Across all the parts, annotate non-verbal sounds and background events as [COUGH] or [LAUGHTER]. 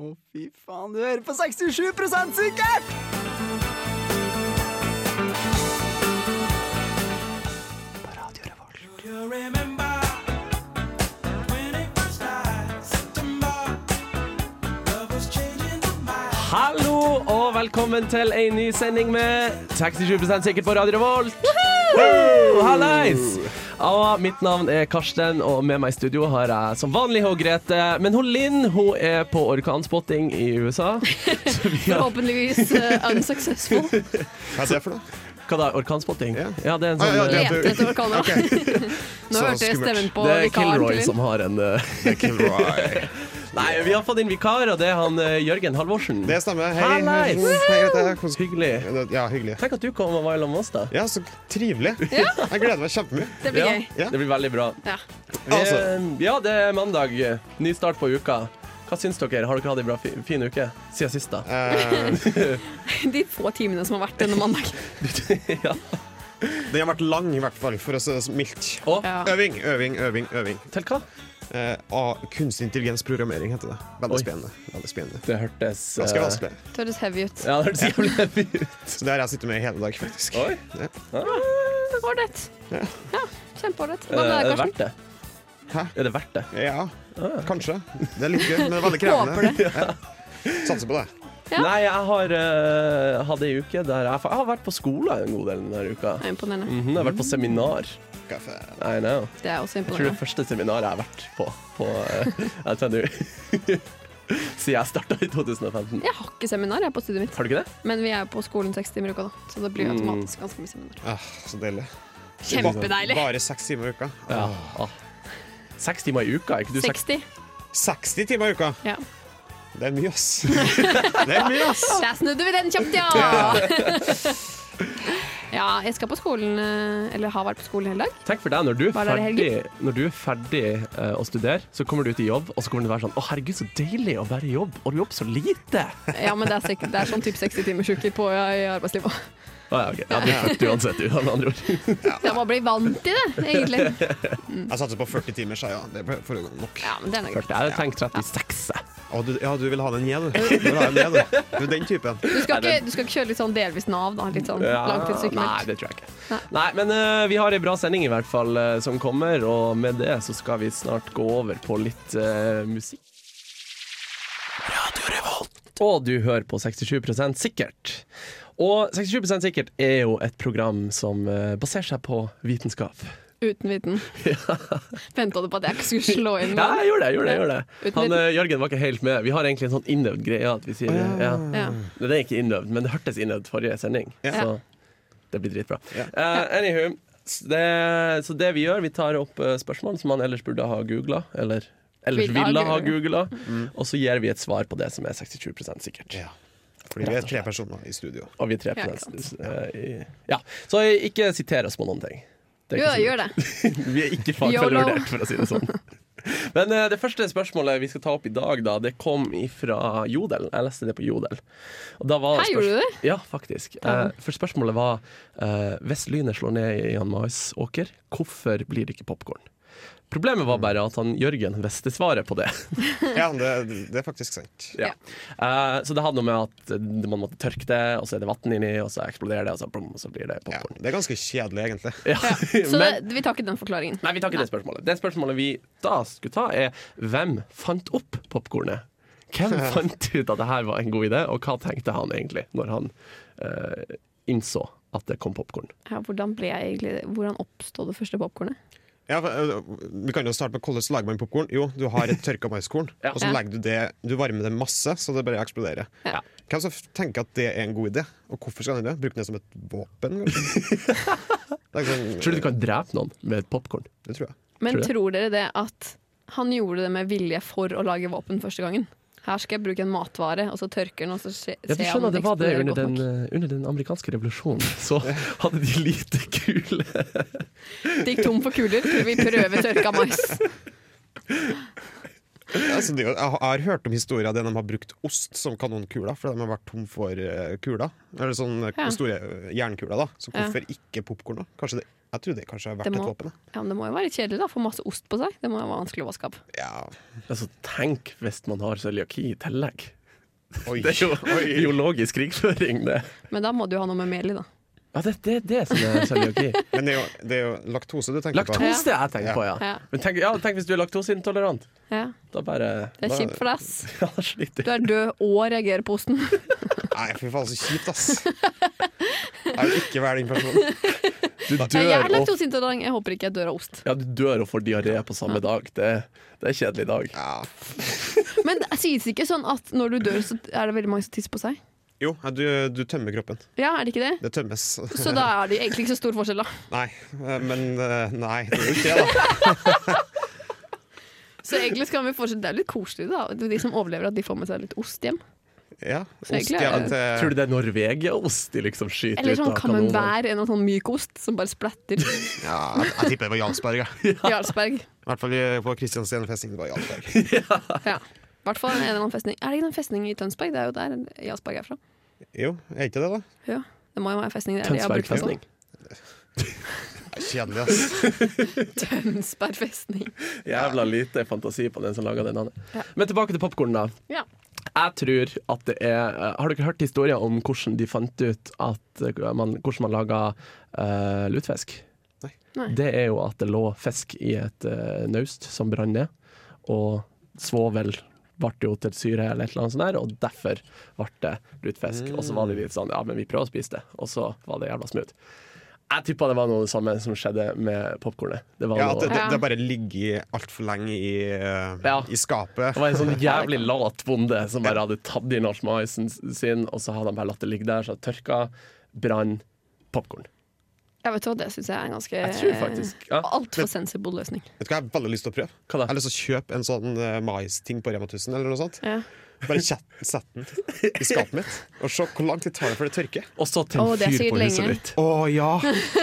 Å, fy faen, du hører på 67 sikkert! På Radio Revolt. Hallo og velkommen til en ny sending med 67 sikkert på Radio Revolt. Woo! Hallais! Og mitt navn er Karsten, og med meg i studio har jeg som vanlig hun Grete. Men hun Linn hun er på orkanspotting i USA. Så vi har, Forhåpentligvis eh, [LAUGHS] unsuccessful. Hva er det [LAUGHS] for noe? hva da? Orkanspotting? Ja. Ja, det er en Ah, sånn ja, eh, det- Lete etter orkaner. [LAUGHS] Nå Så hørte jeg skummelt. stemmen på Det er vikaren Kilroy til Linn. som har en eh, Kilroy. [LAUGHS] Nei, vi har fått inn vikar, og det er han eh, Jørgen Halvorsen. Det stemmer. Hei. Hallais! Hei, Grete. Hvordan- Hyggelig. Ja, hyggelig. Tenk at du kom og var i lag med oss, da. Ja, så trivelig. Jeg gleder meg kjempemye. [LAUGHS] Det blir Ja, gøy. Ja. Det blir veldig bra. Ja. Vi- Altså. Ja, det er mandag. Ny start på uka. Hva syns dere? Har dere hatt en bra, fi- fin uke siden sist, da? Eh, De få timene som har vært denne [LAUGHS] mandag. [LAUGHS] ja. Den har vært lang, i hvert fall, for å si det så mildt. Og Ja. Øving, øving, øving. øving til hva? eh, av Kunstig intelligensprogrammering heter det. Veldig Oi. spennende. veldig spennende Det hørtes eh, Ganske vanskelig. Det høres heavy ut. Ja, det hørtes jævlig [LAUGHS] heavy ut. Eh, Så det har jeg sittet med i hele dag, faktisk. Oi. Ja. Ålreit. Ja. Ja, kjempeålreit. Eh, Hva med er deg, det Karsten? verdt det? Hæ? Er det verdt det? Ja, Ah. kanskje. Det er litt gøy, men det er [LAUGHS] veldig krevende. Ja. Satser på det. Ja. Nei, jeg har eh, hatt ei uke der jeg, fa- jeg har vært på skolen en god del denne uka. Det er imponerende. Mhm, jeg har vært på seminar. Kaffe. I know. Det er også Jeg tror det imponerende. første seminaret jeg har vært på, på eh, LTNU [LAUGHS] siden jeg starta i 2015. Jeg har ikke seminar jeg er på studiet mitt, Har du ikke det? men vi er på skolen seks timer i uka, da. Så det Mm. blir jo automatisk ganske mye seminar. Ah, så deilig. Kjempedeilig. Bare seks timer i uka. Ja. Ah. Seks timer i uka, er ikke du seks? 60. 60 timer i uka! Ja. Det er mye, ass. [LAUGHS] Det er mye, ass. Der snudde vi den [LAUGHS] kjapt, ja! [LAUGHS] Ja, jeg skal på skolen, eh, eller har vært på skolen hele dag. Tenk for deg, når du er Bare der i ferdig, når du er ferdig eh, å studere, så kommer du ut i jobb, og så kommer du til å være sånn Å, herregud, så deilig å være i jobb, og du jobber så [LAUGHS] lite! Ja, men det er, sek- det er sånn typ 60 timers uker på i arbeidslivet. Å ja, OK. Ja, blir fucked uansett, du, med andre ord. Så jeg må bli vant til det, egentlig. Jeg satser på 40 timer, sa jeg. Det er for nok. Ja, men det er noe greit. Jeg hadde tenkt 36. jeg. Å, du, ja, du vil ha den ned, du. Du vil ha den ned, du. Du er den typen. Du skal, ikke, du skal ikke kjøre litt sånn delvis Nav, da? Litt sånn Ja, Nei, langtidssykemeldt? det tror jeg ikke. Nei, men eh, vi har ei bra sending i hvert fall eh, som kommer, og med det så skal vi snart gå over på litt eh, musikk. Radio Revolt. Og du hører på 67 sikkert. Og 67 sikkert er jo et program som eh, baserer seg på vitenskap. Uten viten. Venta du på at jeg ikke skulle slå inn? Ja, med jeg gjorde det. jeg gjorde det, jeg gjorde det. Uten Han, eh, Jørgen var ikke helt med. Vi har egentlig en sånn innøvd greie at vi sier eh, ja. den? Ja. Nei, Det er ikke innøvd, men det hørtes innøvd forrige sending. Ja. Så det blir dritbra. Ja. Eh, anywho, s- det, så det vi gjør, vi tar opp eh, spørsmål som man ellers burde ha googla, eller ellers Ville ha ville ha googla, googlet. og så gir vi et svar på det som er 67 sikkert. Mm. Ja. Fordi vi er tre personer i studio. Og vi er tre Ja, på ikke den. eh, i- Ja. Så ikke siter oss på noen ting. Det er Jo, ikke så- gjør det. vi er ikke YOLO. fagfellevurdert, for å si det sånn. Men eh, det første spørsmålet vi skal ta opp i dag, da, det kom fra Jodel. Jeg leste det på Jodel. Og da var Hei, spørs- gjorde du det? Ja, faktisk. Eh, for spørsmålet var eh, hvis lynet slår ned i en maisåker, hvorfor blir det ikke popkorn? Problemet var bare at han Jørgen visste svaret på det. Ja, det, det er faktisk sant. Ja. Eh, så det hadde noe med at eh, man måtte tørke det, og så er det vann inni, og så eksploderer det, og så, plom, så blir det Ja, popkorn. det er ganske kjedelig, egentlig. Ja. [LAUGHS] Så [LAUGHS] Men- det, vi tar ikke den forklaringen. Nei, vi tar ikke det spørsmålet. Det spørsmålet vi da skulle ta, er hvem fant opp popkornet? [LAUGHS] Hvem fant ut at det her var en god idé, og hva tenkte han egentlig når han eh, innså at det kom popkorn? Ja, hvordan ble jeg egentlig Hvordan oppstod det første popkornet? Ja, for, øh, vi kan jo starte med hvordan lager man popkorn. Jo, du har et tørka maiskorn, Ja. og så Ja. legger du det Du varmer det masse, så det bare eksploderer. Ja. Hvem som tenker at det er en god idé, og hvorfor skal den det? Bruke den som et [LAUGHS] våpen? kanskje? det, er sånn, Tror du du kan drepe noen med et popkorn? det tror jeg. Men Tror jeg. tror dere det at han gjorde det med vilje for å lage våpen første gangen? Her skal jeg bruke en matvare, og så tørker den, og så se- Ja, du ser jeg skjønner om at det den var det eksploderer under godt den, nok. eh, under den amerikanske revolusjonen. [LAUGHS] Så hadde de lite kule. Det gikk tom for kuler. Vi prøver tørka mais. Altså, det, er jo- jeg har- jeg har hørt om historier der de har brukt ost som kanonkuler, fordi de har vært tom for eh, kuler. Eller sånne Ja. store eh, jernkuler, da. Så Ja. hvorfor ikke popkorn, da? Kanskje det Jeg tror det kanskje har Det vært et må- våpen. da. Ja, men det må jo være litt kjedelig, da. Få masse ost på seg. Det må jo være vanskelig å vaske av. [LAUGHS] Ja, Altså, tenk hvis man har cøliaki i tillegg. oi. Det er [LAUGHS] jo biologisk krigføring, det. Men da må du jo ha noe med mel i, da. Ja, det, det er det som er cøliaki. Men det er, jo, det er jo laktose du tenker på. Laktose jeg tenker på, ja. Ja. Men tenk, ja, tenk hvis du er laktoseintolerant. Ja. Da bare [LAUGHS] Det er Da- kjipt for deg, ass. Ja, da sliter Du du. er død og reagerer på osten. Nei, fy faen, så kjipt, ass. Jeg vil ikke være den personen. Du Jeg er dør og, laktoseintolerant. Jeg håper ikke jeg dør av ost. ja, du dør og får diaré på samme dag. Det, det er en kjedelig dag. Ja. Men det sies ikke sånn at når du dør, så er det veldig mange som tisser på seg? Jo, ja, du, du tømmer kroppen. Ja, er det ikke det? Det tømmes. Så da er det jo egentlig ikke så stor forskjell, da. Nei, men eh, Nei, det er jo ikke det, da. Så egentlig skal vi fortsette. Det er litt koselig, da. De som overlever, at de får med seg litt ost hjem. Ja, Så ost egentlig er gjerne det- Tror til du det er Norvegia-ost de liksom skyter Eller ut sånn av kanonene? camembert, en sånn myk ost som bare splatter. [LAUGHS] Ja, jeg, jeg tipper det var Jarlsberg. jeg. Jarlsberg. I hvert fall på Kristiansand-festningen. Det var Jarlsberg. Ja. I hvert fall en eller annen festning. Er det ikke noen festning i Tønsberg? Det er jo der Jarlsberg er fra. Jo, er ikke det, da? Ja. Det må jo være en festning der de har Tønsberg brukt det sånn. festning. Kjedelig, ass. Tønsberg festning. Jævla lite fantasi på den som laga den. Anne. Ja. Men tilbake til popkorn, da. Ja. Jeg tror at det er eh, Har dere hørt historier om hvordan de fant ut at man, hvordan man laga eh, lutefisk? Nei. Nei. Det er jo at det lå fisk i et eh, naust som brant ned, og svovel ble jo til syre eller et eller annet sånt der, og derfor ble det lutefisk. Og så var det litt sånn ja, men vi prøver å spise det, og så var det jævla smooth. Jeg tippa det var noe det samme som skjedde med popkornet. Det, var Ja, at noe- det, det, Ja. det bare ligger altfor lenge i, eh, Ja. i skapet. Det var en [LAUGHS] sånn jævlig lat bonde som bare hadde tatt i nachmaisen sin, og så hadde han bare latt det ligge der, så det tørka, brann, popkorn. Jeg vet hva, det syns jeg er en ganske eh, Jeg tror faktisk ja. altfor sensible løsning. Vet du hva, Jeg har veldig lyst til å prøve. Hva da? Jeg har lyst til å kjøpe en sånn eh, maisting på Rema 1000 eller noe sånt. Ja. Bare kjett- sett den i skapet mitt, og se hvor lang tid tar det før det tørker. Og så til Å, en det er fyr sikkert på huset lenge. ditt. Å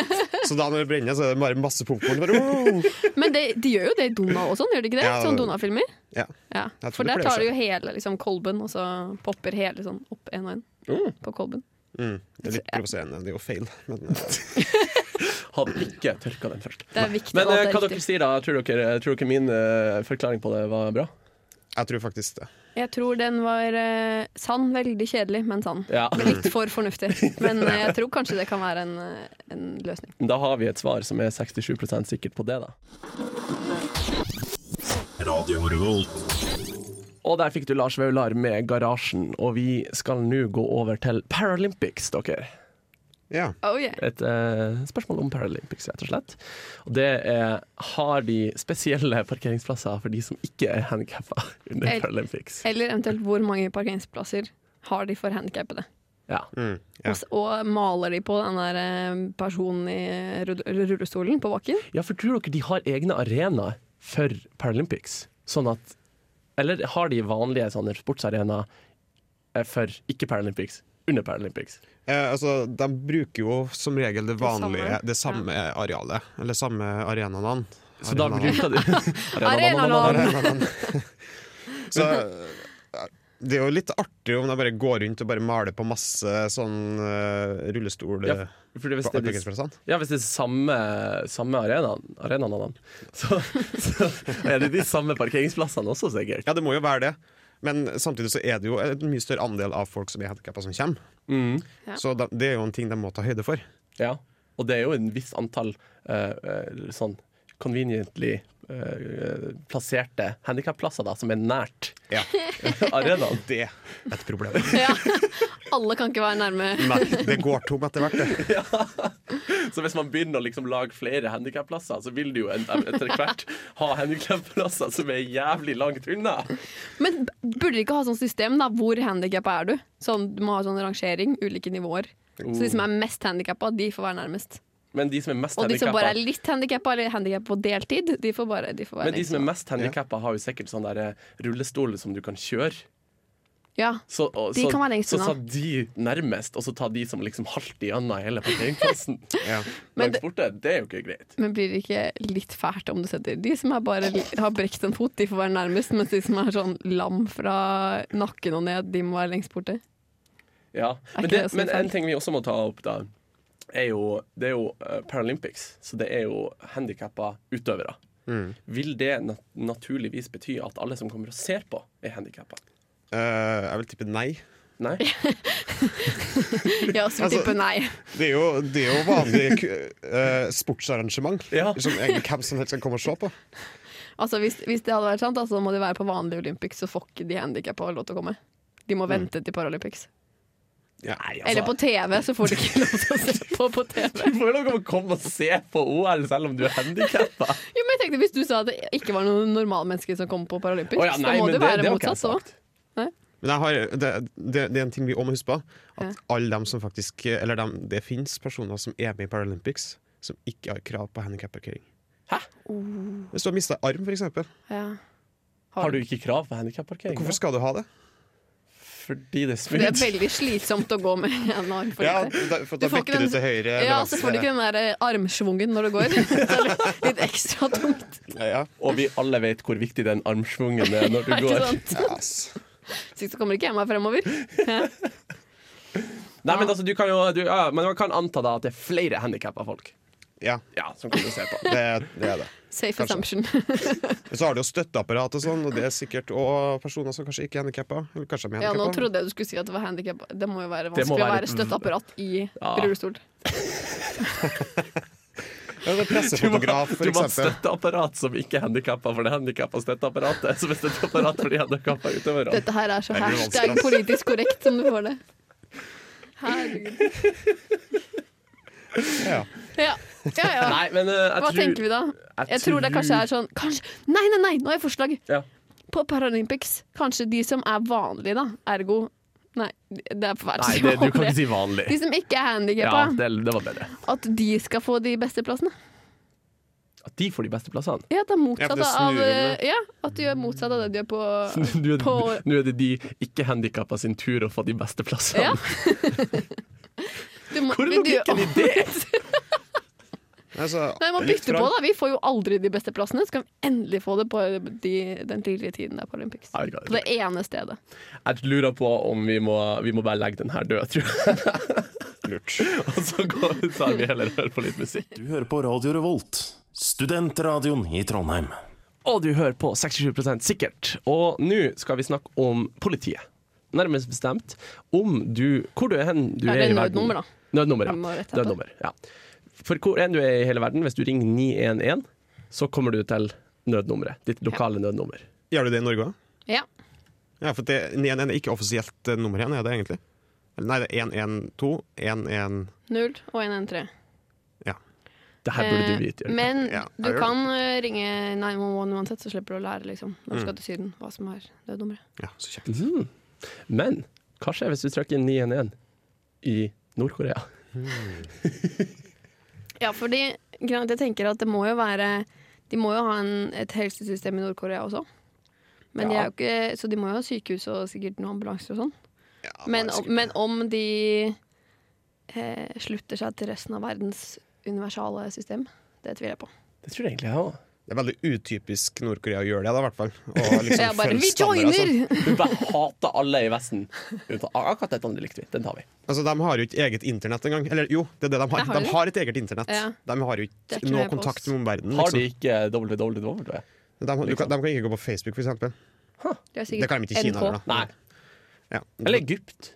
ja! Så da når det brenner, så er det bare masse popkorn. Bare, oh! Men det, de gjør jo det i Donald og sånn, gjør de ikke det? Ja, Sånn Donald-filmer. Ja. Ja. Jeg tror For det der pleier tar de seg. jo hele liksom, kolben, og så popper hele sånn opp en og en på kolben. Mm. Det er litt provoserende. Det er jo feil, men eh, Hadde ikke tørka den først. Det er viktig. Men og eh, alt er hva riktig. dere sier da? Tror dere, tror dere min eh, forklaring på det var bra? jeg tror faktisk det. Jeg tror den var eh, sann, veldig kjedelig, men sann. Ja. Men Litt for fornuftig. Men eh, jeg tror kanskje det kan være en, eh, en løsning. Da har vi et svar som er 67 sikkert på det, da. Og der fikk du Lars Vaular med Garasjen, og vi skal nå gå over til Paralympics, dere. Ja. Oh yeah. et eh, spørsmål om Paralympics, rett og slett. Og det er har de spesielle parkeringsplasser for de som ikke er handikappa [LAUGHS] under El- Paralympics. Eller eventuelt hvor mange parkeringsplasser har de for handikappede? Ja. Mm. ja. Og, s- og maler de på den der eh, personen i rull- rullestolen på [LAUGHS] bakken? ja, for tror dere de har egne arenaer for Paralympics? Sånn at Eller har de vanlige sånne sportsarenaer eh, for ikke-Paralympics under Paralympics? Eh, altså, de bruker jo som regel det vanlige, samme. det samme arealet. Eller samme arenaene. Så da Arenaene. bruker de [LAUGHS] Arenaene. [LAUGHS] Arenaene. Så eh, det er jo litt artig om de bare går rundt og bare maler på masse sånn eh, rullestol Ja, eh, for hvis på det er parkeringsplassene. Ja, hvis det er samme, samme arenaen, arenaen han, så, [LAUGHS] så er det de samme parkeringsplassene også, sikkert. Ja, det må jo være det. Men samtidig så er det jo en mye større andel av folk som er handikappa som kommer. Mm. Ja. Så da, det er jo en ting de må ta høyde for. Ja, og det er jo en viss antall eh, eh, sånn conveniently eh, plasserte handikapplasser da, som er [LAUGHS] nært Ja, arenaen. det er et problem. Ja. Alle kan ikke være nærme. [LAUGHS] Nei, det går tom etter hvert, det. Så hvis man begynner å liksom lage flere handikapplasser, så vil du jo en- etter hvert ha handikapplasser som er jævlig langt unna. Men b- burde de ikke ha sånn system da, hvor handikappa er du? Sånn, du må ha sånn rangering, ulike nivåer. Så de som er mest handikappa, de får være nærmest. Men de som er mest Og de som bare er handikappa litt handikappa eller handikappa på deltid, de får bare de får være men de som er lengst. mest handikappa, har jo sikkert sånn der eh, rullestol som du kan kjøre. Ja. Så, og, De så, kan være lengst så unna. ta de nærmest, og så ta de som liksom halter gjennom hele parkeringsplassen. Ja. [LAUGHS] Men Langt borte. Det er jo ikke greit. Men blir det ikke litt fælt om du setter De som er bare li- har brekt en fot, de får være nærmest, mens de som er sånn lam fra nakken og ned, de må være lengst borte. Ja, men, ikke det, det som er men en feil? ting vi også må ta opp da er jo, det er jo eh, Paralympics, så det er jo handikappa utøvere. Vil det nat naturligvis bety at alle som kommer og ser på, er handikappa? Eh, jeg vil tippe nei. Nei? [LAUGHS] Ja, så Altså- tipper nei. Det er jo, det er jo vanlig ku- eh, sportsarrangement Ja. som egentlig hvem som helst kan komme og se på. Altså, hvis, hvis det hadde vært sant, altså, må de være på vanlig Olympics, så får ikke de handikappa lov til å komme. De må vente til Paralympics. Nei, Eller på TV, så får de ikke lov til å se på på TV. Du får jo lov til å komme og se på OL selv om du er [LAUGHS] handikappa. Jo, men jeg tenkte Hvis du sa at det ikke var noen normalmennesker som kom på Paralympics, så må det, være motsatt. Så. Men jeg har, det, det, det er en ting vi også må huske på. At alle dem som faktisk Eller dem, det finnes personer som er med i Paralympics, som ikke har krav på handikapparkering. Hæ? Oh. Hvis du har mista arm, f.eks., Ja. Har du ikke krav på handikapparkering? hvorfor skal du ha det? Fordi det er For det er smooth. veldig slitsomt å gå med en arm for Ja, lite. da, for Du da får ikke bikker den- du til høyre eller Ja, så får du venstre. ikke den der eh, armschwungen når du går. [LAUGHS] Så er det Litt ekstra tungt. Ja, Og vi alle vet hvor viktig den armsvungen er når du [LAUGHS] Er ikke går. sant? ja. Yes. Så kommer ikke jeg meg fremover. Nei, men altså, du kan jo du, ja, Men man kan anta da at det er flere handikappa folk ja Ja, som kommer og ser [LAUGHS] på. det, det er det. Safe Kanskje. assumption. Men så har du jo støtteapparat og sånn, og det er sikkert òg personer som kanskje ikke er handikappa. Eller kanskje de er [LAUGHS] Ja, nå handikappa. trodde jeg du skulle si at det var handikap. Det må jo være Det må vanskelig å være- være støtteapparat i Ja. rullestol. Ja, det er pressefotograf, du må ha f.eks. støtteapparat som ikke er handikappa, for det er handikappa støtteapparatet som er støtteapparat for de handikappa utøverne. Dette her er så Det er jo hashtag vanskelig, ass. politisk korrekt som du får det. Herregud. Ja. Ja, ja. ja. Nei, men eh, jeg Hva tror tenker vi da? Jeg tror det kanskje er sånn kanskje, Nei, nei, nei, nå har jeg forslag! Ja. På Paralympics, kanskje de som er vanlige, da. Ergo Nei, det er for hvert Nei, det, du kan ikke si vanlig. De som ikke er handikappa, Ja, det, det var bedre. at de skal få de beste plassene. At de får de beste plassene. Ja, det er Ja, for motsatt det snur av om det. Ja, at de gjør motsatt av det de gjør på [LAUGHS] Nå er det- På- nå er det de ikke-handikappa sin tur å få de beste plassene. [LAUGHS] Ja. Du må, Hvor er men du- logikken i det? Altså, [LAUGHS] Nei, man litt bytter på, fram. da. Vi får jo aldri de beste plassene. Så kan vi endelig få det på de, den tidligere tiden der på Olympics. Jeg vet ikke hva jeg På det ene stedet. Jeg lurer på om vi må, vi må bare legge den her død, tror jeg. Lurt. [LAUGHS] Og så går, tar vi heller og hører på litt musikk. Du hører på Radio Revolt, studentradioen i Trondheim. Og du hører på 67 sikkert. Og nå skal vi snakke om politiet. Nærmest bestemt om du Hvor du er hen du Ja, er, det er i verden. nødnummer, da. Nødnummer, Vi må rette ja. på. Nødnummer, ja. For hvor enn du er i hele verden, hvis du ringer 911, så kommer du til nødnummeret. Ditt lokale nødnummer. Gjør du det i Norge òg? Ja. Ja, for det, 911 er ikke offisielt eh, nummer igjen, er det egentlig? Eller Nei, det er 112, 111 Null og 113. Det her burde Eh, du vite. Jørgen. Men Ja, du jeg gjør kan eh, ringe 911 uansett, så slipper du å lære liksom, Mm. når du skal til Syden hva som er nødnummeret. Ja, så kjekt. Mhm. Men hva skjer hvis du trykker 911 i Nord-Korea? Ja, fordi greia er at jeg tenker at det må jo være De må jo ha en, et helsesystem i Nord-Korea også. Men de Ja. er jo ikke, så de må jo ha sykehus og sikkert noen ambulanser og sånn. Ja, Men, det er om- sikkert- men om de eh, slutter seg til resten av verdens universale system, det tviler jeg på. Det tror jeg egentlig jeg òg. det er veldig utypisk Nord-Korea å gjøre det, da, i hvert fall. [LAUGHS] Og liksom Jeg bare, følge vi standarder, joiner! altså. Vi bare hater alle i Vesten. Unntatt akkurat dette andre likte vi. Den tar vi. Altså, De har jo ikke eget internett engang. Eller jo, det er det de har. Det har de. de har et eget internett. Ja. De har jo Det er ikke ikke noe med på oss. kontakt med omverdenen. Har de Liksom. ikke www? De, har- du kan, de kan ikke gå på Facebook, for eksempel. [LAUGHS] Det, er sikkert Det kan de ikke i NK. Kina heller, da. Nei. Ja. Eller Egypt,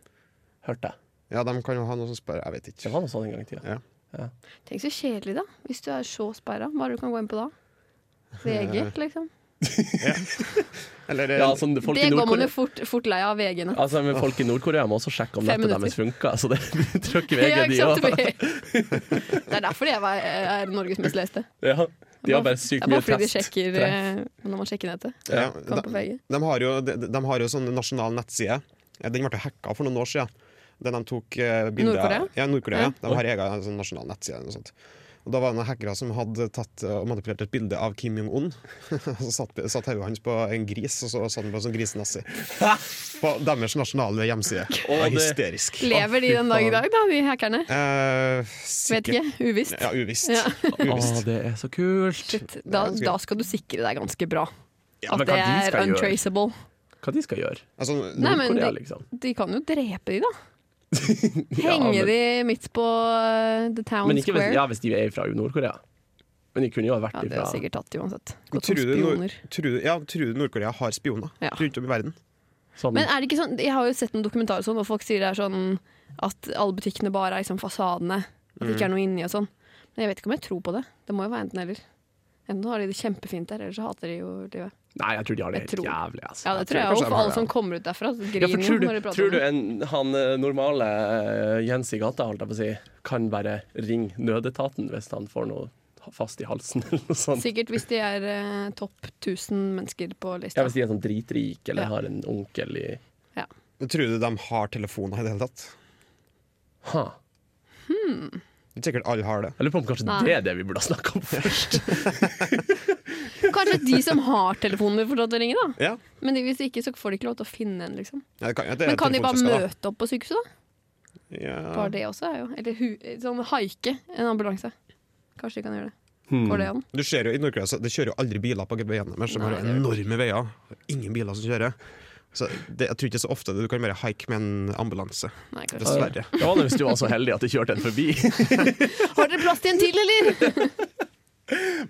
hørte jeg. ja, de kan jo ha noe som spør Jeg vet Det ikke. var noe sånn en gang i tida. Ja. Tenk så kjedelig, da. Hvis du er så sperra. Hva er det du kan gå inn [LAUGHS] på da? VG, liksom. Eller, eh, Ja, sånn, folk i Det går man Nord-Korea jo fort, fort lei av, VG-ene. Altså, men folk i Nord-Korea må også sjekke om Fem nettet minutter. deres funker. Så det [LAUGHS] trykker Ja, VG, de ikke sant, òg. Tobi? [LAUGHS] Det er derfor jeg var- eh, er Norges mest leste. [LAUGHS] Ja, de har bare Det sykt er mye bare fordi de test. sjekker Treff. eh, når man sjekker nettet. ja, Kom på de, VG. de, har jo, de, de har jo sånn nasjonal nettside. Eh, Den ble jo hacka for noen år siden. Den de tok eh, bilder Nord-Korea? Ja, Nord-Korea. Ja. Ja. De har egen sånn, nasjonal nettside. eller Noe sånt. Og da var det noen hackere som hadde tatt eh, og manipulert et bilde av Kim Jong-un. [LAUGHS] Og så satt, satt hodet hans på en gris, og så satt han på en sånn grisenazi. På deres nasjonale hjemside. Det var det- hysterisk. Lever de den dag i dag, da, de hackerne? Eh, Vet sikkert ikke. Uvisst. Ja, uvisst. Ja. Å, uvisst. det er så kult! Shit, da, ganske- da skal du sikre deg ganske bra. At men hva det de er skal gjøre? untraceable. Hva de skal gjøre? Altså, Nei, men Nord-Korea, de, liksom. de kan jo drepe de, da. Henge men- de midt på eh, The Town Men ikke hvis, Square. ja, hvis de er fra Nord-Korea. Men de kunne jo ha vært Ja, det ifra er sikkert tatt uansett. Gått som Tror du, Nord- spioner. tror du, ja, tror du Nord-Korea har spioner Ja. rundt om i verden? sånn, Men er det ikke sånn, jeg har jo sett noen dokumentarer og sånn, og folk sier det er sånn at alle butikkene bare er liksom fasadene, at det ikke Mm. er noe inni og sånn. Men jeg vet ikke om jeg tror på det. Det må jo være enten eller. Enten har de det kjempefint der, eller så hater de jo livet. Nei, jeg tror de har det Jeg helt tror- jævlig. Altså. Ja, det tror jeg kanskje òg, de for har alle det, som kommer ut derfra, Ja, for griner jo tror du, når de prater tror om du det. en, han eh, normale eh, Jens i gata holdt jeg på å si, kan bare ringe nødetaten hvis han får noe fast i halsen [LAUGHS] eller noe sånt? Sikkert hvis de er eh, topp 1000 mennesker på Ja, lista. hvis de er sånn dritrik eller Ja. har en onkel i Ja. Tror du de har telefoner i det hele tatt? Ha. Det er Sikkert alle har det. Jeg lurer på om kanskje Nei. det er det vi burde ha snakka om først. Kanskje de som har telefoner, får lov til å ringe, da. Ja. Men de, hvis ikke, så får de ikke lov til å finne en, liksom. Ja, det kan, jo at det er Men kan de bare telefonselskap, da. møte opp på sykehuset, da? Ja. Bare det også er jo Eller hu, sånn haike en ambulanse. Kanskje de kan gjøre det. Hmm. Går det an? Du ser jo i Nord-Korea så Det kjører jo aldri biler på veiene deres. De har Nei, det gjør enorme veier. Ingen biler som kjører. Så det, jeg tror ikke så ofte du kan bare haike med en ambulanse. Nei, kanskje ikke. Dessverre. Det var nå hvis du var så heldig at det kjørte en forbi. [LAUGHS] Har dere plass til en til, [LAUGHS] eller?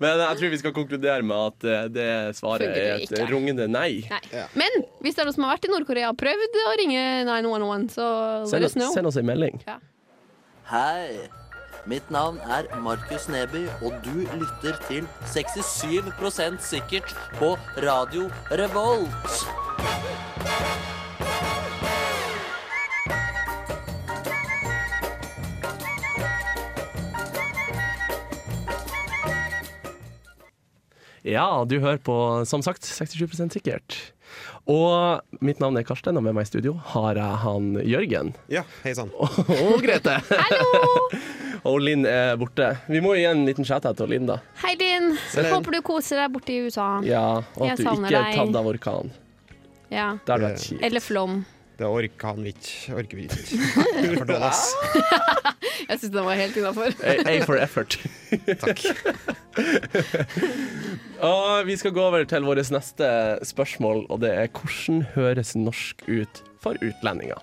Men jeg tror vi skal konkludere med at eh, det svaret Fungerer er et ikke. rungende nei. Nei. Ja. Men hvis det er noen som har vært i Nord-Korea og prøvd å ringe 911, så let Send us oss, know. send oss en melding. Ja. Hei! Mitt navn er Markus Neby, og du lytter til 67 sikkert på Radio Revolt. Ja, du hører på, som sagt, 67 sikkert. Og mitt navn er Karsten, og med meg i studio har jeg han Jørgen. Ja, hei sann. Og Grete. Hallo! [LAUGHS] Og Linn er borte. Vi må gi en liten shout-out til Linn, da. Hei, Linn. Linn. Håper du koser deg borte i USA. Ja, og at Jeg du savner ikke er deg. tatt av orkan. Ja. Det hadde vært kjipt. Eller flom. Det orker han ikke. Orker vi ikke. For dårlig, ass. Jeg syns den var helt innafor. A, A for effort. Takk. Og vi skal gå over til vårt neste spørsmål, og det er hvordan høres norsk ut for utlendinger?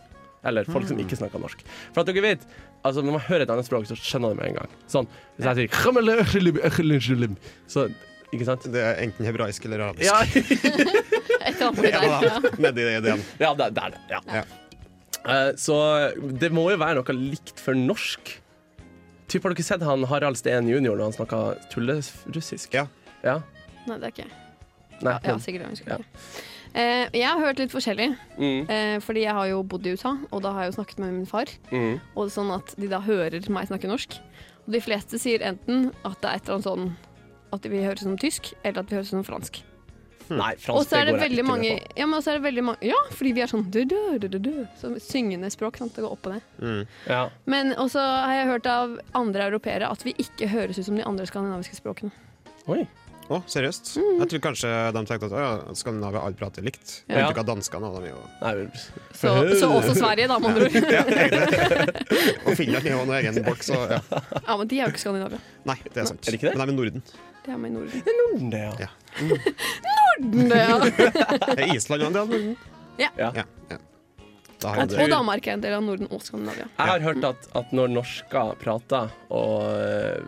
Eller folk som ikke snakker norsk. For at dere vet, altså når man hører et annet språk, så skjønner de med en gang. Sånn, hvis jeg sier eh, «Khamele økhelim økhelim», Så, ikke sant? Det er enten hebraisk eller arabisk. Ja, [LAUGHS] [LAUGHS] Et eller annet En av der. Ja. dem. Nedi det igjen. ja det, det er det. Ja. Ja. Eh, Så det må jo være noe likt for norsk. Typ har dere sett han Harald Steen junior når han snakker tullerussisk? Ja. ja. Nei, det er ikke jeg. Nei, Ja, han- sikkert. Jeg, husker Ja. ikke. Eh, jeg har hørt litt forskjellig. Mm. Eh, fordi jeg har jo bodd i USA, og da har jeg jo snakket med min far. Mm. Og det er sånn at de da hører meg snakke norsk. Og de fleste sier enten at det er et eller annet sånn at vi høres som tysk, eller at vi høres som fransk. Nei, Og fransk så er det går jeg veldig ikke med mange på. Ja, men også er det veldig mange Ja, fordi vi er sånn du, du, du, du, du, så Syngende språk. Sant? Det går opp og ned. Ja. Men også har jeg hørt av andre europeere at vi ikke høres ut som de andre skandinaviske språkene. Oi. Å, seriøst? Mm. Jeg tror kanskje de tenkte at å, ja, Skandinavia alle prater likt. Ja. Jeg vet ikke hva danskene og de er jo Nei, Så, så også Sverige, da, med andre ord. ja, egentlig. Og Finland er jo en egen bolk, så ja. Ja, men de er jo ikke Skandinavia. Nei, det er sant. Er det ikke det? Men de er i Norden. De er med i Norden. Norden, det, ja. Ja. Ja. Er Island en del av Norden? Ja. Ja. ja. Da har vi tror- det. Og Danmark er en del av Norden og Skandinavia. Jeg har hørt at, at når norsker prater, og øh,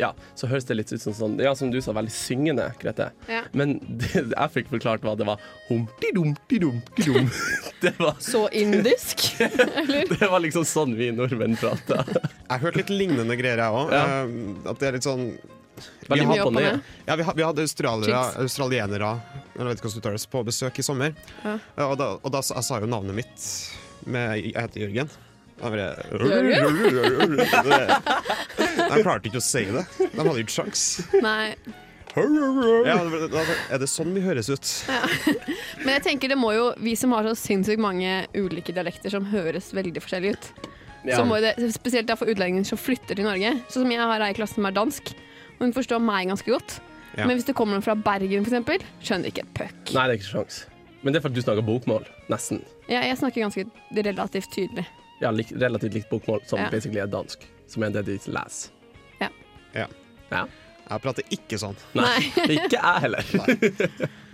ja, så høres det litt ut som sånn Ja, som du sa, veldig syngende, Grete. Ja. Men [LAUGHS] det, jeg fikk forklart hva det var. Humti-dumti-dumti-dum. [LAUGHS] Det, var- Så indisk. det var liksom sånn vi nordmenn prater. Jeg har hørt litt lignende greier, jeg òg. At det er litt sånn Veldig har- opp og ned. Ja, vi, ha- vi hadde australiere, Chicks. australienere eller vet ikke hvordan det uttales, på besøk i sommer. Ja. Ja, Og, da, og da sa- jeg sa jo navnet mitt med Jeg heter Jørgen. Da var det- De klarte ikke å si det. De hadde ikke sjans. Nei. Ja, det var- da- er det sånn vi høres ut? Men jeg tenker det må jo, vi som har så sinnssykt mange ulike dialekter som høres veldig forskjellig ut, Ja. så må jo det, spesielt da for utlendinger som flytter til Norge, sånn som jeg har ei i klassen som er dansk, og hun forstår meg ganske godt. Ja. Men hvis det kommer noen fra Bergen, f.eks., skjønner ikke et puck. Nei, det er ikke sjans. Men det er fordi du snakker bokmål. Nesten. Jeg, jeg snakker ganske relativt tydelig. Ja, lik, relativt likt bokmål, som Ja. basically er dansk. Som er det de leser. Ja. Ja. Jeg prater ikke sånn. Nei, ikke jeg heller.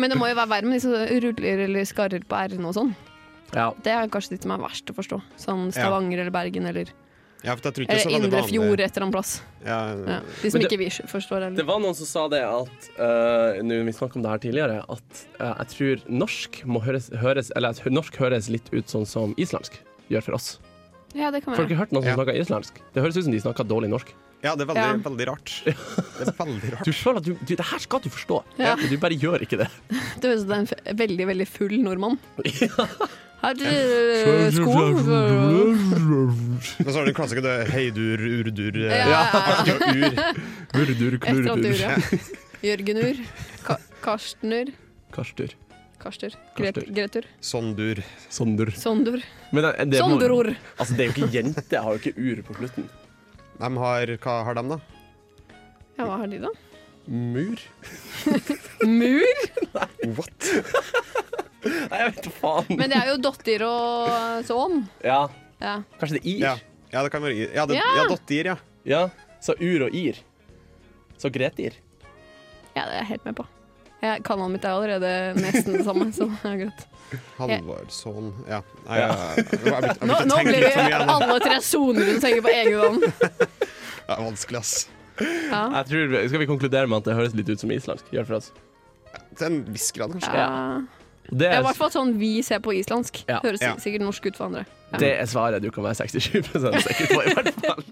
Men det må jo være verre med de som ruller eller skarrer på r-en og sånn. Ja. Det er kanskje de som er verst å forstå. Sånn Stavanger eller Bergen eller, Ja, for jeg tror ikke sånn eller det er så veldig Indre vanlig. Fjord et eller annet plass. Ja. Ja, De som Men det- ikke vi forstår Det heller. var noen som sa det at eh, Nå Vi snakket om det her tidligere. At eh, jeg tror norsk må høres, høres Eller at norsk høres litt ut sånn som islandsk gjør for oss. Ja, det kan Folk være. har hørt noen som Ja. snakker islandsk. Det høres ut som de snakker dårlig norsk. ja det er veldig, Ja. veldig rart. [LAUGHS] Det er veldig Du rart. føler at du, du Det her skal du forstå, Ja. men du bare gjør ikke det. Det høres ut som det er en f- veldig, veldig full nordmann. Ja. Her til Eh, sånn- skolen Men så har du en klassiker, det er heidur, urdur, eh, Ja, ja, ja. ja, ur. Urdur, Et eller annet ur, ja. Jørgenur. Ka Karstenur. Karstur. Karster. Gret Karster. Gretur. Sondur. Sondur. Sondur. Men det, det må- Sondror. Altså, det er jo ikke jente. Jeg har jo ikke ur på slutten. De har, hva har de, da? Ja, hva har de, da? Mur? Mur? What? Nei, jeg vet da faen. Men det er jo dotter og sånn. Ja, Ja. kanskje det er ir? Ja, ja det kan være ir. Ja, det, Ja. ja dottir, ja. Ja, så ur og ir. Så gretir. ja, det er jeg helt med på. Jeg, kanalen mitt er allerede nesten det samme, så det er greit. Halvorsson Ja. Nei, jeg, [LAUGHS] jeg, jeg, jeg, jeg, Nå, nå blir det igjen. alle tre soner du tenker på egen hånd. Det er vanskelig, ass. Ja. Jeg tror, skal vi konkludere med at det høres litt ut som islandsk? Gjør for oss. Til en viss grad, kanskje. Ja. Det Det er i er, hvert fall sånn vi ser på islandsk. Ja. Høres Ja. sikkert norsk ut for andre. Ja. det er svaret du kan være 67 sikker på, i hvert fall.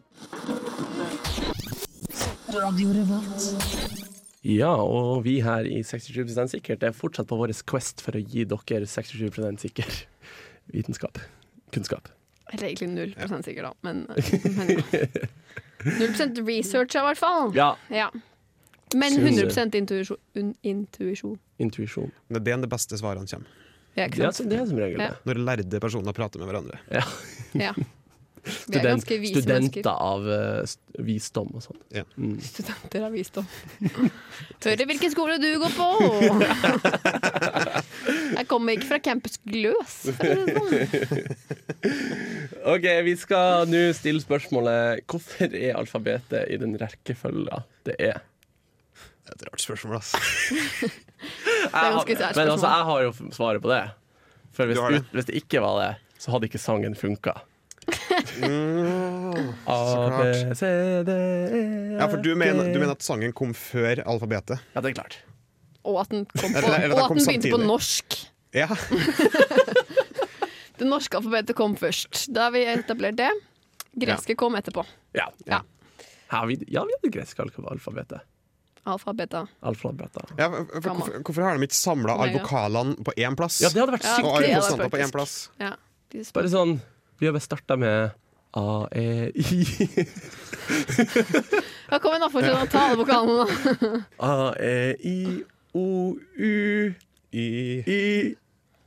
Ja, og vi her i 67 sikkert er fortsatt på vår quest for å gi dere 67 sikker vitenskap. Kunnskap. Eller egentlig 0 sikkert, da. Men, men ja. 0 research, i hvert fall. Ja, Ja. Men Synes jeg. 100 intuisjon. Un, intuisjon. intuisjon. Det er den de beste svarene kommer. Det Ja, ikke er, sant? det er som regel det. Ja. Når lærde personer prater med hverandre. Ja. Ja. Vi er Student, ganske vise studenter mennesker. av eh, st- visdom og sånn. Studenter har visdom. Hører hvilken skole du går på! Jeg kommer ikke fra campus Gløs. for å si det sånn. OK, vi skal nå stille spørsmålet Hvorfor er alfabetet i den rekkefølga det er? Det er et rart spørsmål, ass. er ganske sært Men altså, spørsmål. jeg har jo f- svaret på det. For hvis, Du har det. ut- hvis det ikke var det, så hadde ikke sangen funka. [LAUGHS] A, B, Mm. klart. C, D, E Ja, for du F, G. mener, du mener at sangen kom før alfabetet? Ja, det er klart. Og at den, kom på, Eller- eller den og at kom den begynte på samtidig. norsk. Ja. Det norske alfabetet kom først. Da har vi etablert det. Greske kom etterpå. Ja. Ja. Her, vi, ja, vi hadde gresk alfa- alfabetet. Alfa, beta. Alfabetet. ja for, for, hvorfor, hvorfor har de ikke samla Nei, alle ja. vokalene på én plass? Ja, det hadde vært Ja. sykt. og det alle hadde konsonanter på faktisk- én plass? Ja. De spør- Bare sånn Vi har bare starta med A, E, I. [LAUGHS] Ja, kom igjen, da. Fortsett å ta alle vokalene. da. [LAUGHS] A, E, I, O, U, I I,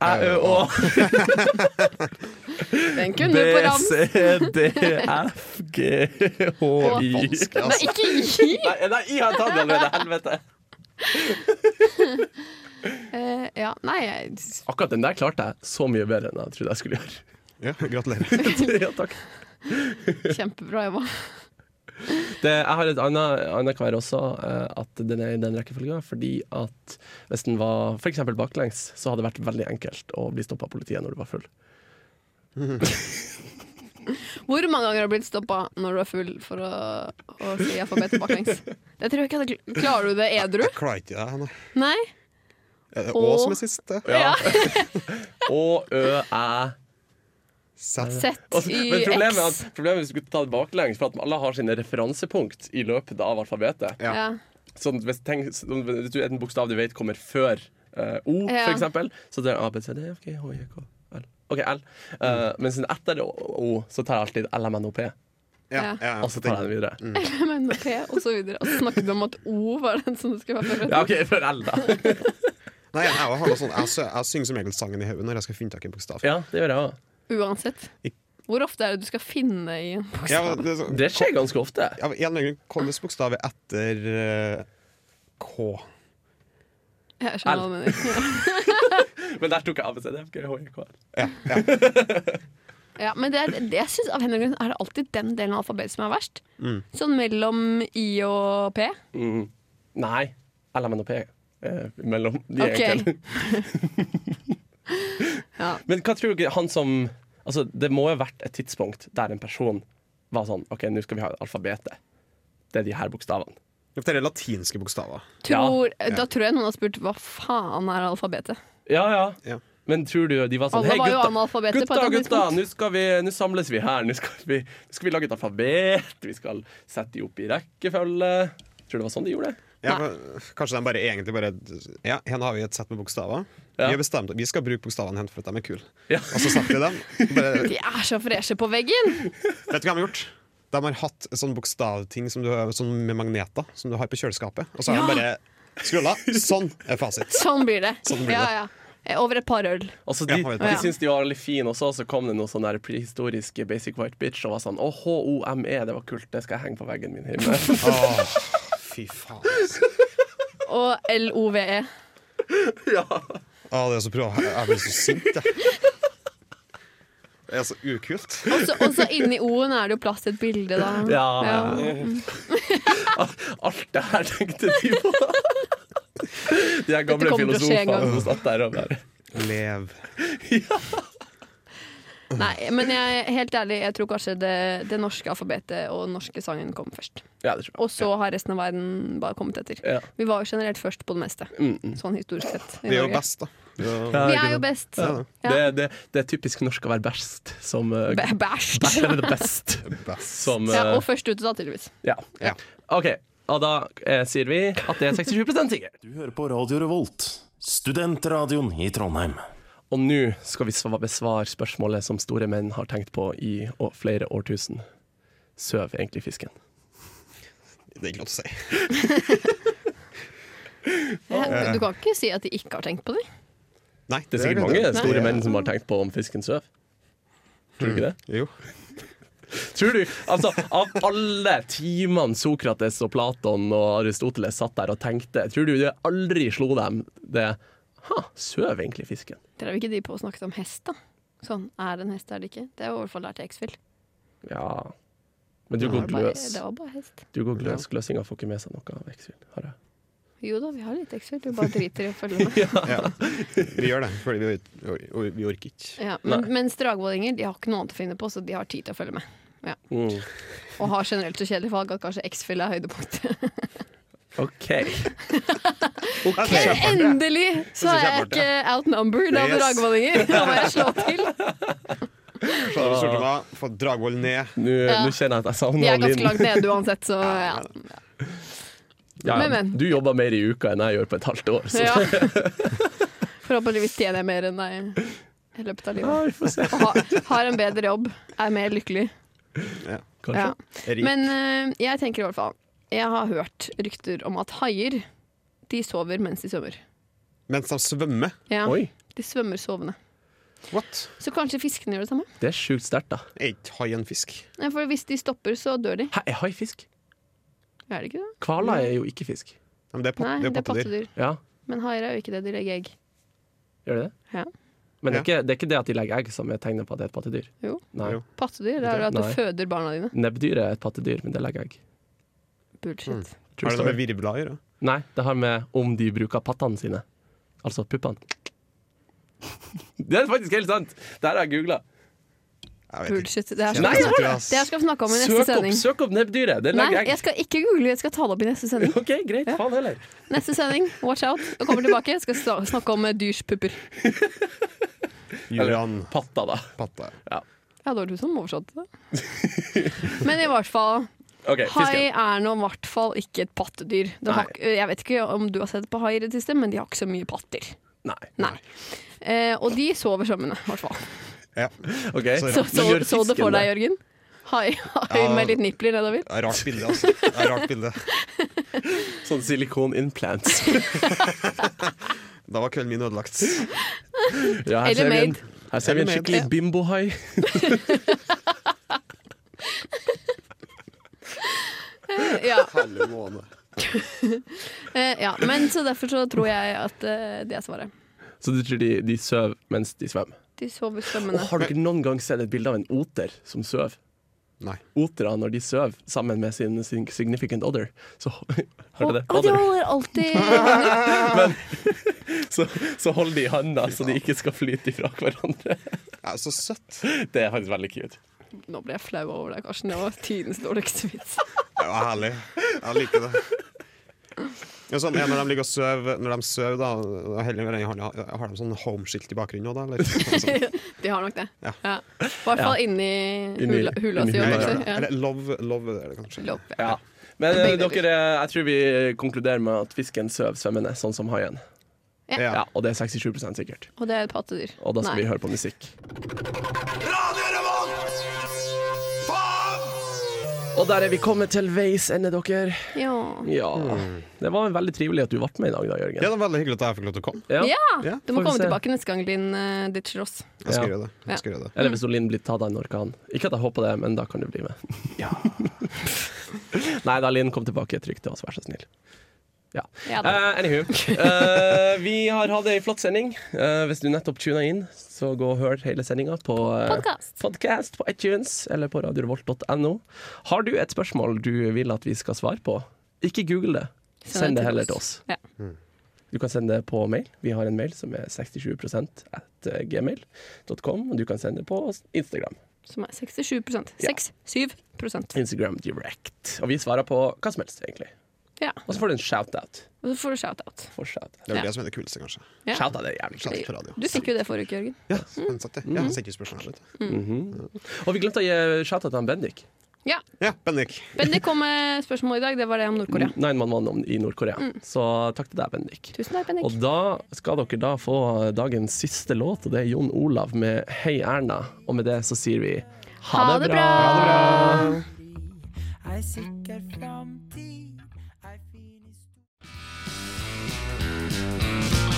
Æ, Ø, Å. Den B, kunne du på rams. C, D, F, G, H, I. Vanskelig, Nei, ass. ikke gi! Nei, nei, I har jeg tatt allerede. Helvete. [LAUGHS] Eh, ja, nei, jeg Akkurat den der klarte jeg så mye bedre enn jeg trodde jeg skulle gjøre. [LAUGHS] Ja, [LAUGHS] gratulerer. ja, takk. Kjempebra jobba. Det, jeg har et annet, annet kvar også, eh, at den er i den rekkefølga. Fordi at hvis den var f.eks. baklengs, så hadde det vært veldig enkelt å bli stoppa av politiet når du var full. Hvor mange ganger har du blitt stoppa når du er full for å, å si alfabetet baklengs? Jeg tror ikke jeg hadde- Klarer du det edru? Klarer ikke det, nei. Nei? Er det Å Å. som er sist? det? Ja. Å, Ø, Æ. Sett. Sett Og så- i Men problemet er, X. at, problemet er hvis du skulle ta det baklengs, for at alle har sine referansepunkt i løpet av alfabetet. Ja. Ja. Sånn, hvis, tenk, sånn, hvis du er en bokstav du vet kommer før eh, O, Ja. for eksempel, så det er A, B, C, D, F, G, H, I, K, L. OK, L. Eh, men sånn, etter O, O, så tar jeg alltid L, M, N, O, P, Ja, Ja. ja, og så tar jeg den videre. Men med P, og så videre. Og så snakket du om at O var den som det skulle være Ja, forberedt. OK, for L, da. Nei, jeg, har noe sånt, jeg, sø- jeg synger som regel sangen i hodet når jeg skal finne tak i en bokstav. [LAUGHS] Ja, det gjør jeg òg. Uansett. Hvor ofte er det du skal finne i en bokstav? Ja, men det, er så- Det skjer ganske ofte. ja, men en eller annen grunn, Hvilken bokstav er etter eh, K? Jeg skjønner hva du mener. Men der tok jeg A, B, C, D, F, G, H, I, K, L. Ja, men det er, det jeg synes, av en eller annen grunn er det alltid den delen av alfabetet som er verst. Mm. Sånn mellom I og P. Mm. Nei. L, M, N, O, P. eh, mellom de Ok. [LAUGHS] okay. Men hva tror dere han som Altså, det må jo ha vært et tidspunkt der en person var sånn OK, nå skal vi ha alfabetet. Det er de her bokstavene. Dette er latinske bokstaver. Tror, Da tror jeg noen har spurt hva faen er alfabetet. Ja, ja. Ja. Men tror du de var sånn Alle Hei, var jo gutta, analfabeter på et gutta, eller annet gutta tidspunkt.» nå, skal vi, nå samles vi her. Nå skal vi, nå skal vi lage et alfabet. Vi skal sette de opp i rekkefølge. Tror du det var sånn de gjorde det? Ja, men kanskje de bare egentlig bare Ja, her har vi et sett med bokstaver. Ja. Vi har bestemt at vi skal bruke bokstavene hen for at de er kule. Ja. Og så setter vi dem. [LAUGHS] Bare, De er så freshe på veggen! vet du hva de har gjort? De har hatt sånn bokstavting som du, sånn med magneter som du har på kjøleskapet. Og så har de bare skrulla. Sånn er fasit. Sånn blir det. [LAUGHS] Sånn blir det. ja, ja. Eh, Over et par øl. Og så Altså, Ja, de, jeg vet de det. syntes de var veldig fine også, og så kom det noen sånne der prehistoriske basic white bitch og var sånn Å, H-O-M-E, det var kult, det skal jeg henge på veggen min hjemme. Åh, fy faen. altså. Og LOVE. ja. Åh, det er så bra. Jeg blir så sint, jeg. Det er så ukult. Og så- Og så inni O-en er det jo plass til et bilde, da. [LAUGHS] [LAUGHS] Ja. [LAUGHS] Alt det her tenkte de på. [LAUGHS] De her gamle Dette kommer til å skje filosofene en gang. som satt der og bare Lev. Nei, men jeg, helt ærlig, jeg tror kanskje det, det norske alfabetet og den norske sangen kom først. Ja, det tror jeg. Og så har resten av verden bare kommet etter. Ja. Vi var jo generelt først på det meste, sånn historisk sett. i Vi Mm, er jo Norge. best, da. Vi er- Vi er jo best. Ja. Det, det, det er typisk norsk å være best som eh, Bæ- Bæsj! Bæsj er det [LAUGHS] best Best. som eh, [LAUGHS] Ja, og først ute, da, tydeligvis. ja. Ja. OK, og da eh, sier vi at det er 67 sikkert. Du hører på Radio Revolt, studentradioen i Trondheim. Og nå skal vi sva- besvare spørsmålet som store menn har tenkt på i å- flere årtusen. Søv egentlig fisken? Det er ikke lov til å si. Du, du kan ikke si at de ikke har tenkt på det. Nei, Det er sikkert det mange det. store Det- menn som har tenkt på om fisken søv. Tror du ikke det? Jo. Mm. Tror du, altså, Av alle timene Sokrates og Platon og Aristoteles satt der og tenkte, tror du det aldri slo dem det Ha, søv egentlig fisken? Drev ikke de på å snakke om hest, da? Sånn, er det en hest, er det ikke? Det er jo i hvert fall lært i X-Fill. Ja. Men du Det går var bare- gløs. det var bare hest. Du går gløs. Gløsinga får ikke med seg noe av X-Fil. Har jeg. Jo da, vi har litt X-Fill, du bare driter i å følge med. Ja. Vi gjør det, fordi vi, vi, vi orker ikke. Ja, men, mens dragvollinger de har ikke noe annet å finne på, så de har tid til å følge med. Ja. Mm. Og har generelt så kjedelig fag at kanskje X-Fill er høydepunktet. OK. [LAUGHS] Endelig så er jeg Det er ikke outnumbered av Yes. dragvollinger! Da må jeg slå til. Så har vi Stortinget, fått Dragvoll ned. Nå Ja. nå kjenner jeg at jeg savner De er ganske Linn. langt nede uansett, så ja. Ja, ja. Men, men. Du jobber mer i uka enn jeg gjør på et halvt år. Så. ja. [LAUGHS] Forhåpentligvis tjener jeg mer enn deg i løpet av Ja, livet. vi får se. Og ha, har en bedre jobb, er mer lykkelig. Kanskje. Ja. Rik. Men eh, jeg tenker i hvert fall Jeg har hørt rykter om at haier De sover mens de svømmer. Mens de svømmer. Ja, Oi, de svømmer sovende. What? Så kanskje fiskene gjør det samme? det er sjukt sterkt, da. Er ikke hai en fisk? Nei, For hvis de stopper, så dør de. Hæ, er hai fisk? Er det ikke det? Hvaler er jo ikke fisk. Nei, men det er, pot Nei, det er pattedyr. pattedyr. Ja, Men haier er jo ikke det. De legger egg. gjør det det? Ja. Men det Ja. er, ikke, det er ikke det at de legger egg som er tegnet på at det er et pattedyr. Jo. Nei. Jo. Pattedyr det er jo at du Nei. føder barna dine. Nebbdyr er et pattedyr, men det legger egg. Bullshit. True Har det noe story. med virvler å gjøre? Nei, det har med om de bruker pattene sine. Altså puppene. Det er faktisk helt sant! Det her har jeg googla. Jeg vet ikke. Bullshit. Det her skal, Nei, vi snakke- hold da. det her skal vi snakke om i neste Søk opp, sending. søk opp nebbdyret! Det Nei, legger jeg egg. skal ikke google, jeg skal ta det opp i neste [LAUGHS] sending. OK, greit. Faen heller. Neste sending, watch out. Og kommer tilbake, skal sna- snakke om eh, dyrs pupper. Julian Patta, da. Patte. Ja, det var du som oversatte det. [LAUGHS] Men i hvert fall, OK, hai fisken. er nå i hvert fall ikke et pattedyr. De Eh, Nei. har, ikke- eh, jeg vet ikke om du har sett på haier i det siste, men de har ikke så mye patter. Nei. Nei. Eh, og de sover svømmende, i hvert fall. Ja. Ok, Så- Så, Men så, gjør så det fisken Ah. for deg, det? Jørgen? Hai, hai Ja. med litt nipler nedover? Det er Rart bilde, altså. Det er Rart bilde. Sånn silikon [LAUGHS] implants. Da var kvelden min ødelagt. Ja, her Eller ser vi en, made. her ser vi en Eller made. skikkelig bimbohai. [LAUGHS] Ja. Halve måned. [LAUGHS] Eh, ja. Men så derfor så tror jeg at eh, det er svaret. Så du tror de, de sover mens de svømmer? De sover Og svømmende. har dere noen gang sett et bilde av en oter som sover? Nei. Otra når de sover sammen med sin, sin significant other. Så [LAUGHS] hører du det? Å, de holder alltid Så, så hold de i handa, så de ikke skal flyte ifra hverandre. [LAUGHS] Ja, så søtt. Det er faktisk veldig cute. [LAUGHS] Nå ble jeg flau over deg, Karsten. Det var tidens dårligste vits. Det var herlig. Jeg liker det. Ja, sånn, ja, når de ligger og sover, når de sover da, da heller hverandre i hånda, har de sånn homeskilt i bakgrunnen òg, da? Eller, sånn. De har nok det. Ja. Ja. I hvert fall inni Inni- hula, hula si. inni hula, også, ja. eller love, love er det kanskje. Lopp, ja. Ja. Men eh, Begge deler. dere, eh, jeg tror vi konkluderer med at fisken sover svømmende, sånn som haien. Ja. Ja, og det er 67 sikkert. Og det er et pattedyr. Og da skal Nei. vi høre på musikk. Og der er vi kommet til veis ende, dere. Ja. Ja. Det var veldig trivelig at du ble med i dag, da, Ja, Jørgen. det var veldig hyggelig at jeg fikk lov til å komme. Ja. ja! Ja, Du får må vi komme se. tilbake neste gang, Linn eh, ditcher oss. Jeg Ja. skal gjøre det. Jeg skal gjøre det. Eller hvis Linn blir tatt av en orkan. Ikke at jeg håper det, men da kan du bli med. [LAUGHS] Nei da, Linn, kom tilbake trygt til oss, vær så snill. Ja. Ja, da. Eh, anywho. Eh, vi har hatt ei flott sending. Eh, hvis du nettopp tuna inn, så gå og hør hele sendinga på eh, Podcast. podcast på iTunes eller på radiorevolt.no. Har du et spørsmål du vil at vi skal svare på, ikke google det. Send det heller til oss. Ja. Du kan sende det på mail. Vi har en mail som er 67 at eh, gmail.com. Og du kan sende det på Instagram. Som er 67 Ja. 6-7 Instagram direct. Og vi svarer på hva som helst, egentlig. Ja. Og så får du en shout-out. Og så får du shout-out. For shout-out. Det er Ja. vel det som er det kuleste, kanskje. Ja. Shout-out er jævlig kult. Shout-out på radio. Du fikk jo det forrige uke, Jørgen. Ja, han satt det. Ja, han sendte jo spørsmål her, vet du. Mhm. Og vi glemte å gi shout-out til han Bendik. Ja. Ja, Bendik. Bendik kom med spørsmål i dag. Det var det om Nord-Korea. 911 om- i Nord-Korea. Så takk til deg, Bendik. Mm. Tusen takk, Og Bendik. da skal dere da få dagens siste låt, og det er Jon Olav med 'Hei Erna'. Og med det så sier vi Ha det bra! Ha det bra. Ei sikker framtid, ei fin historie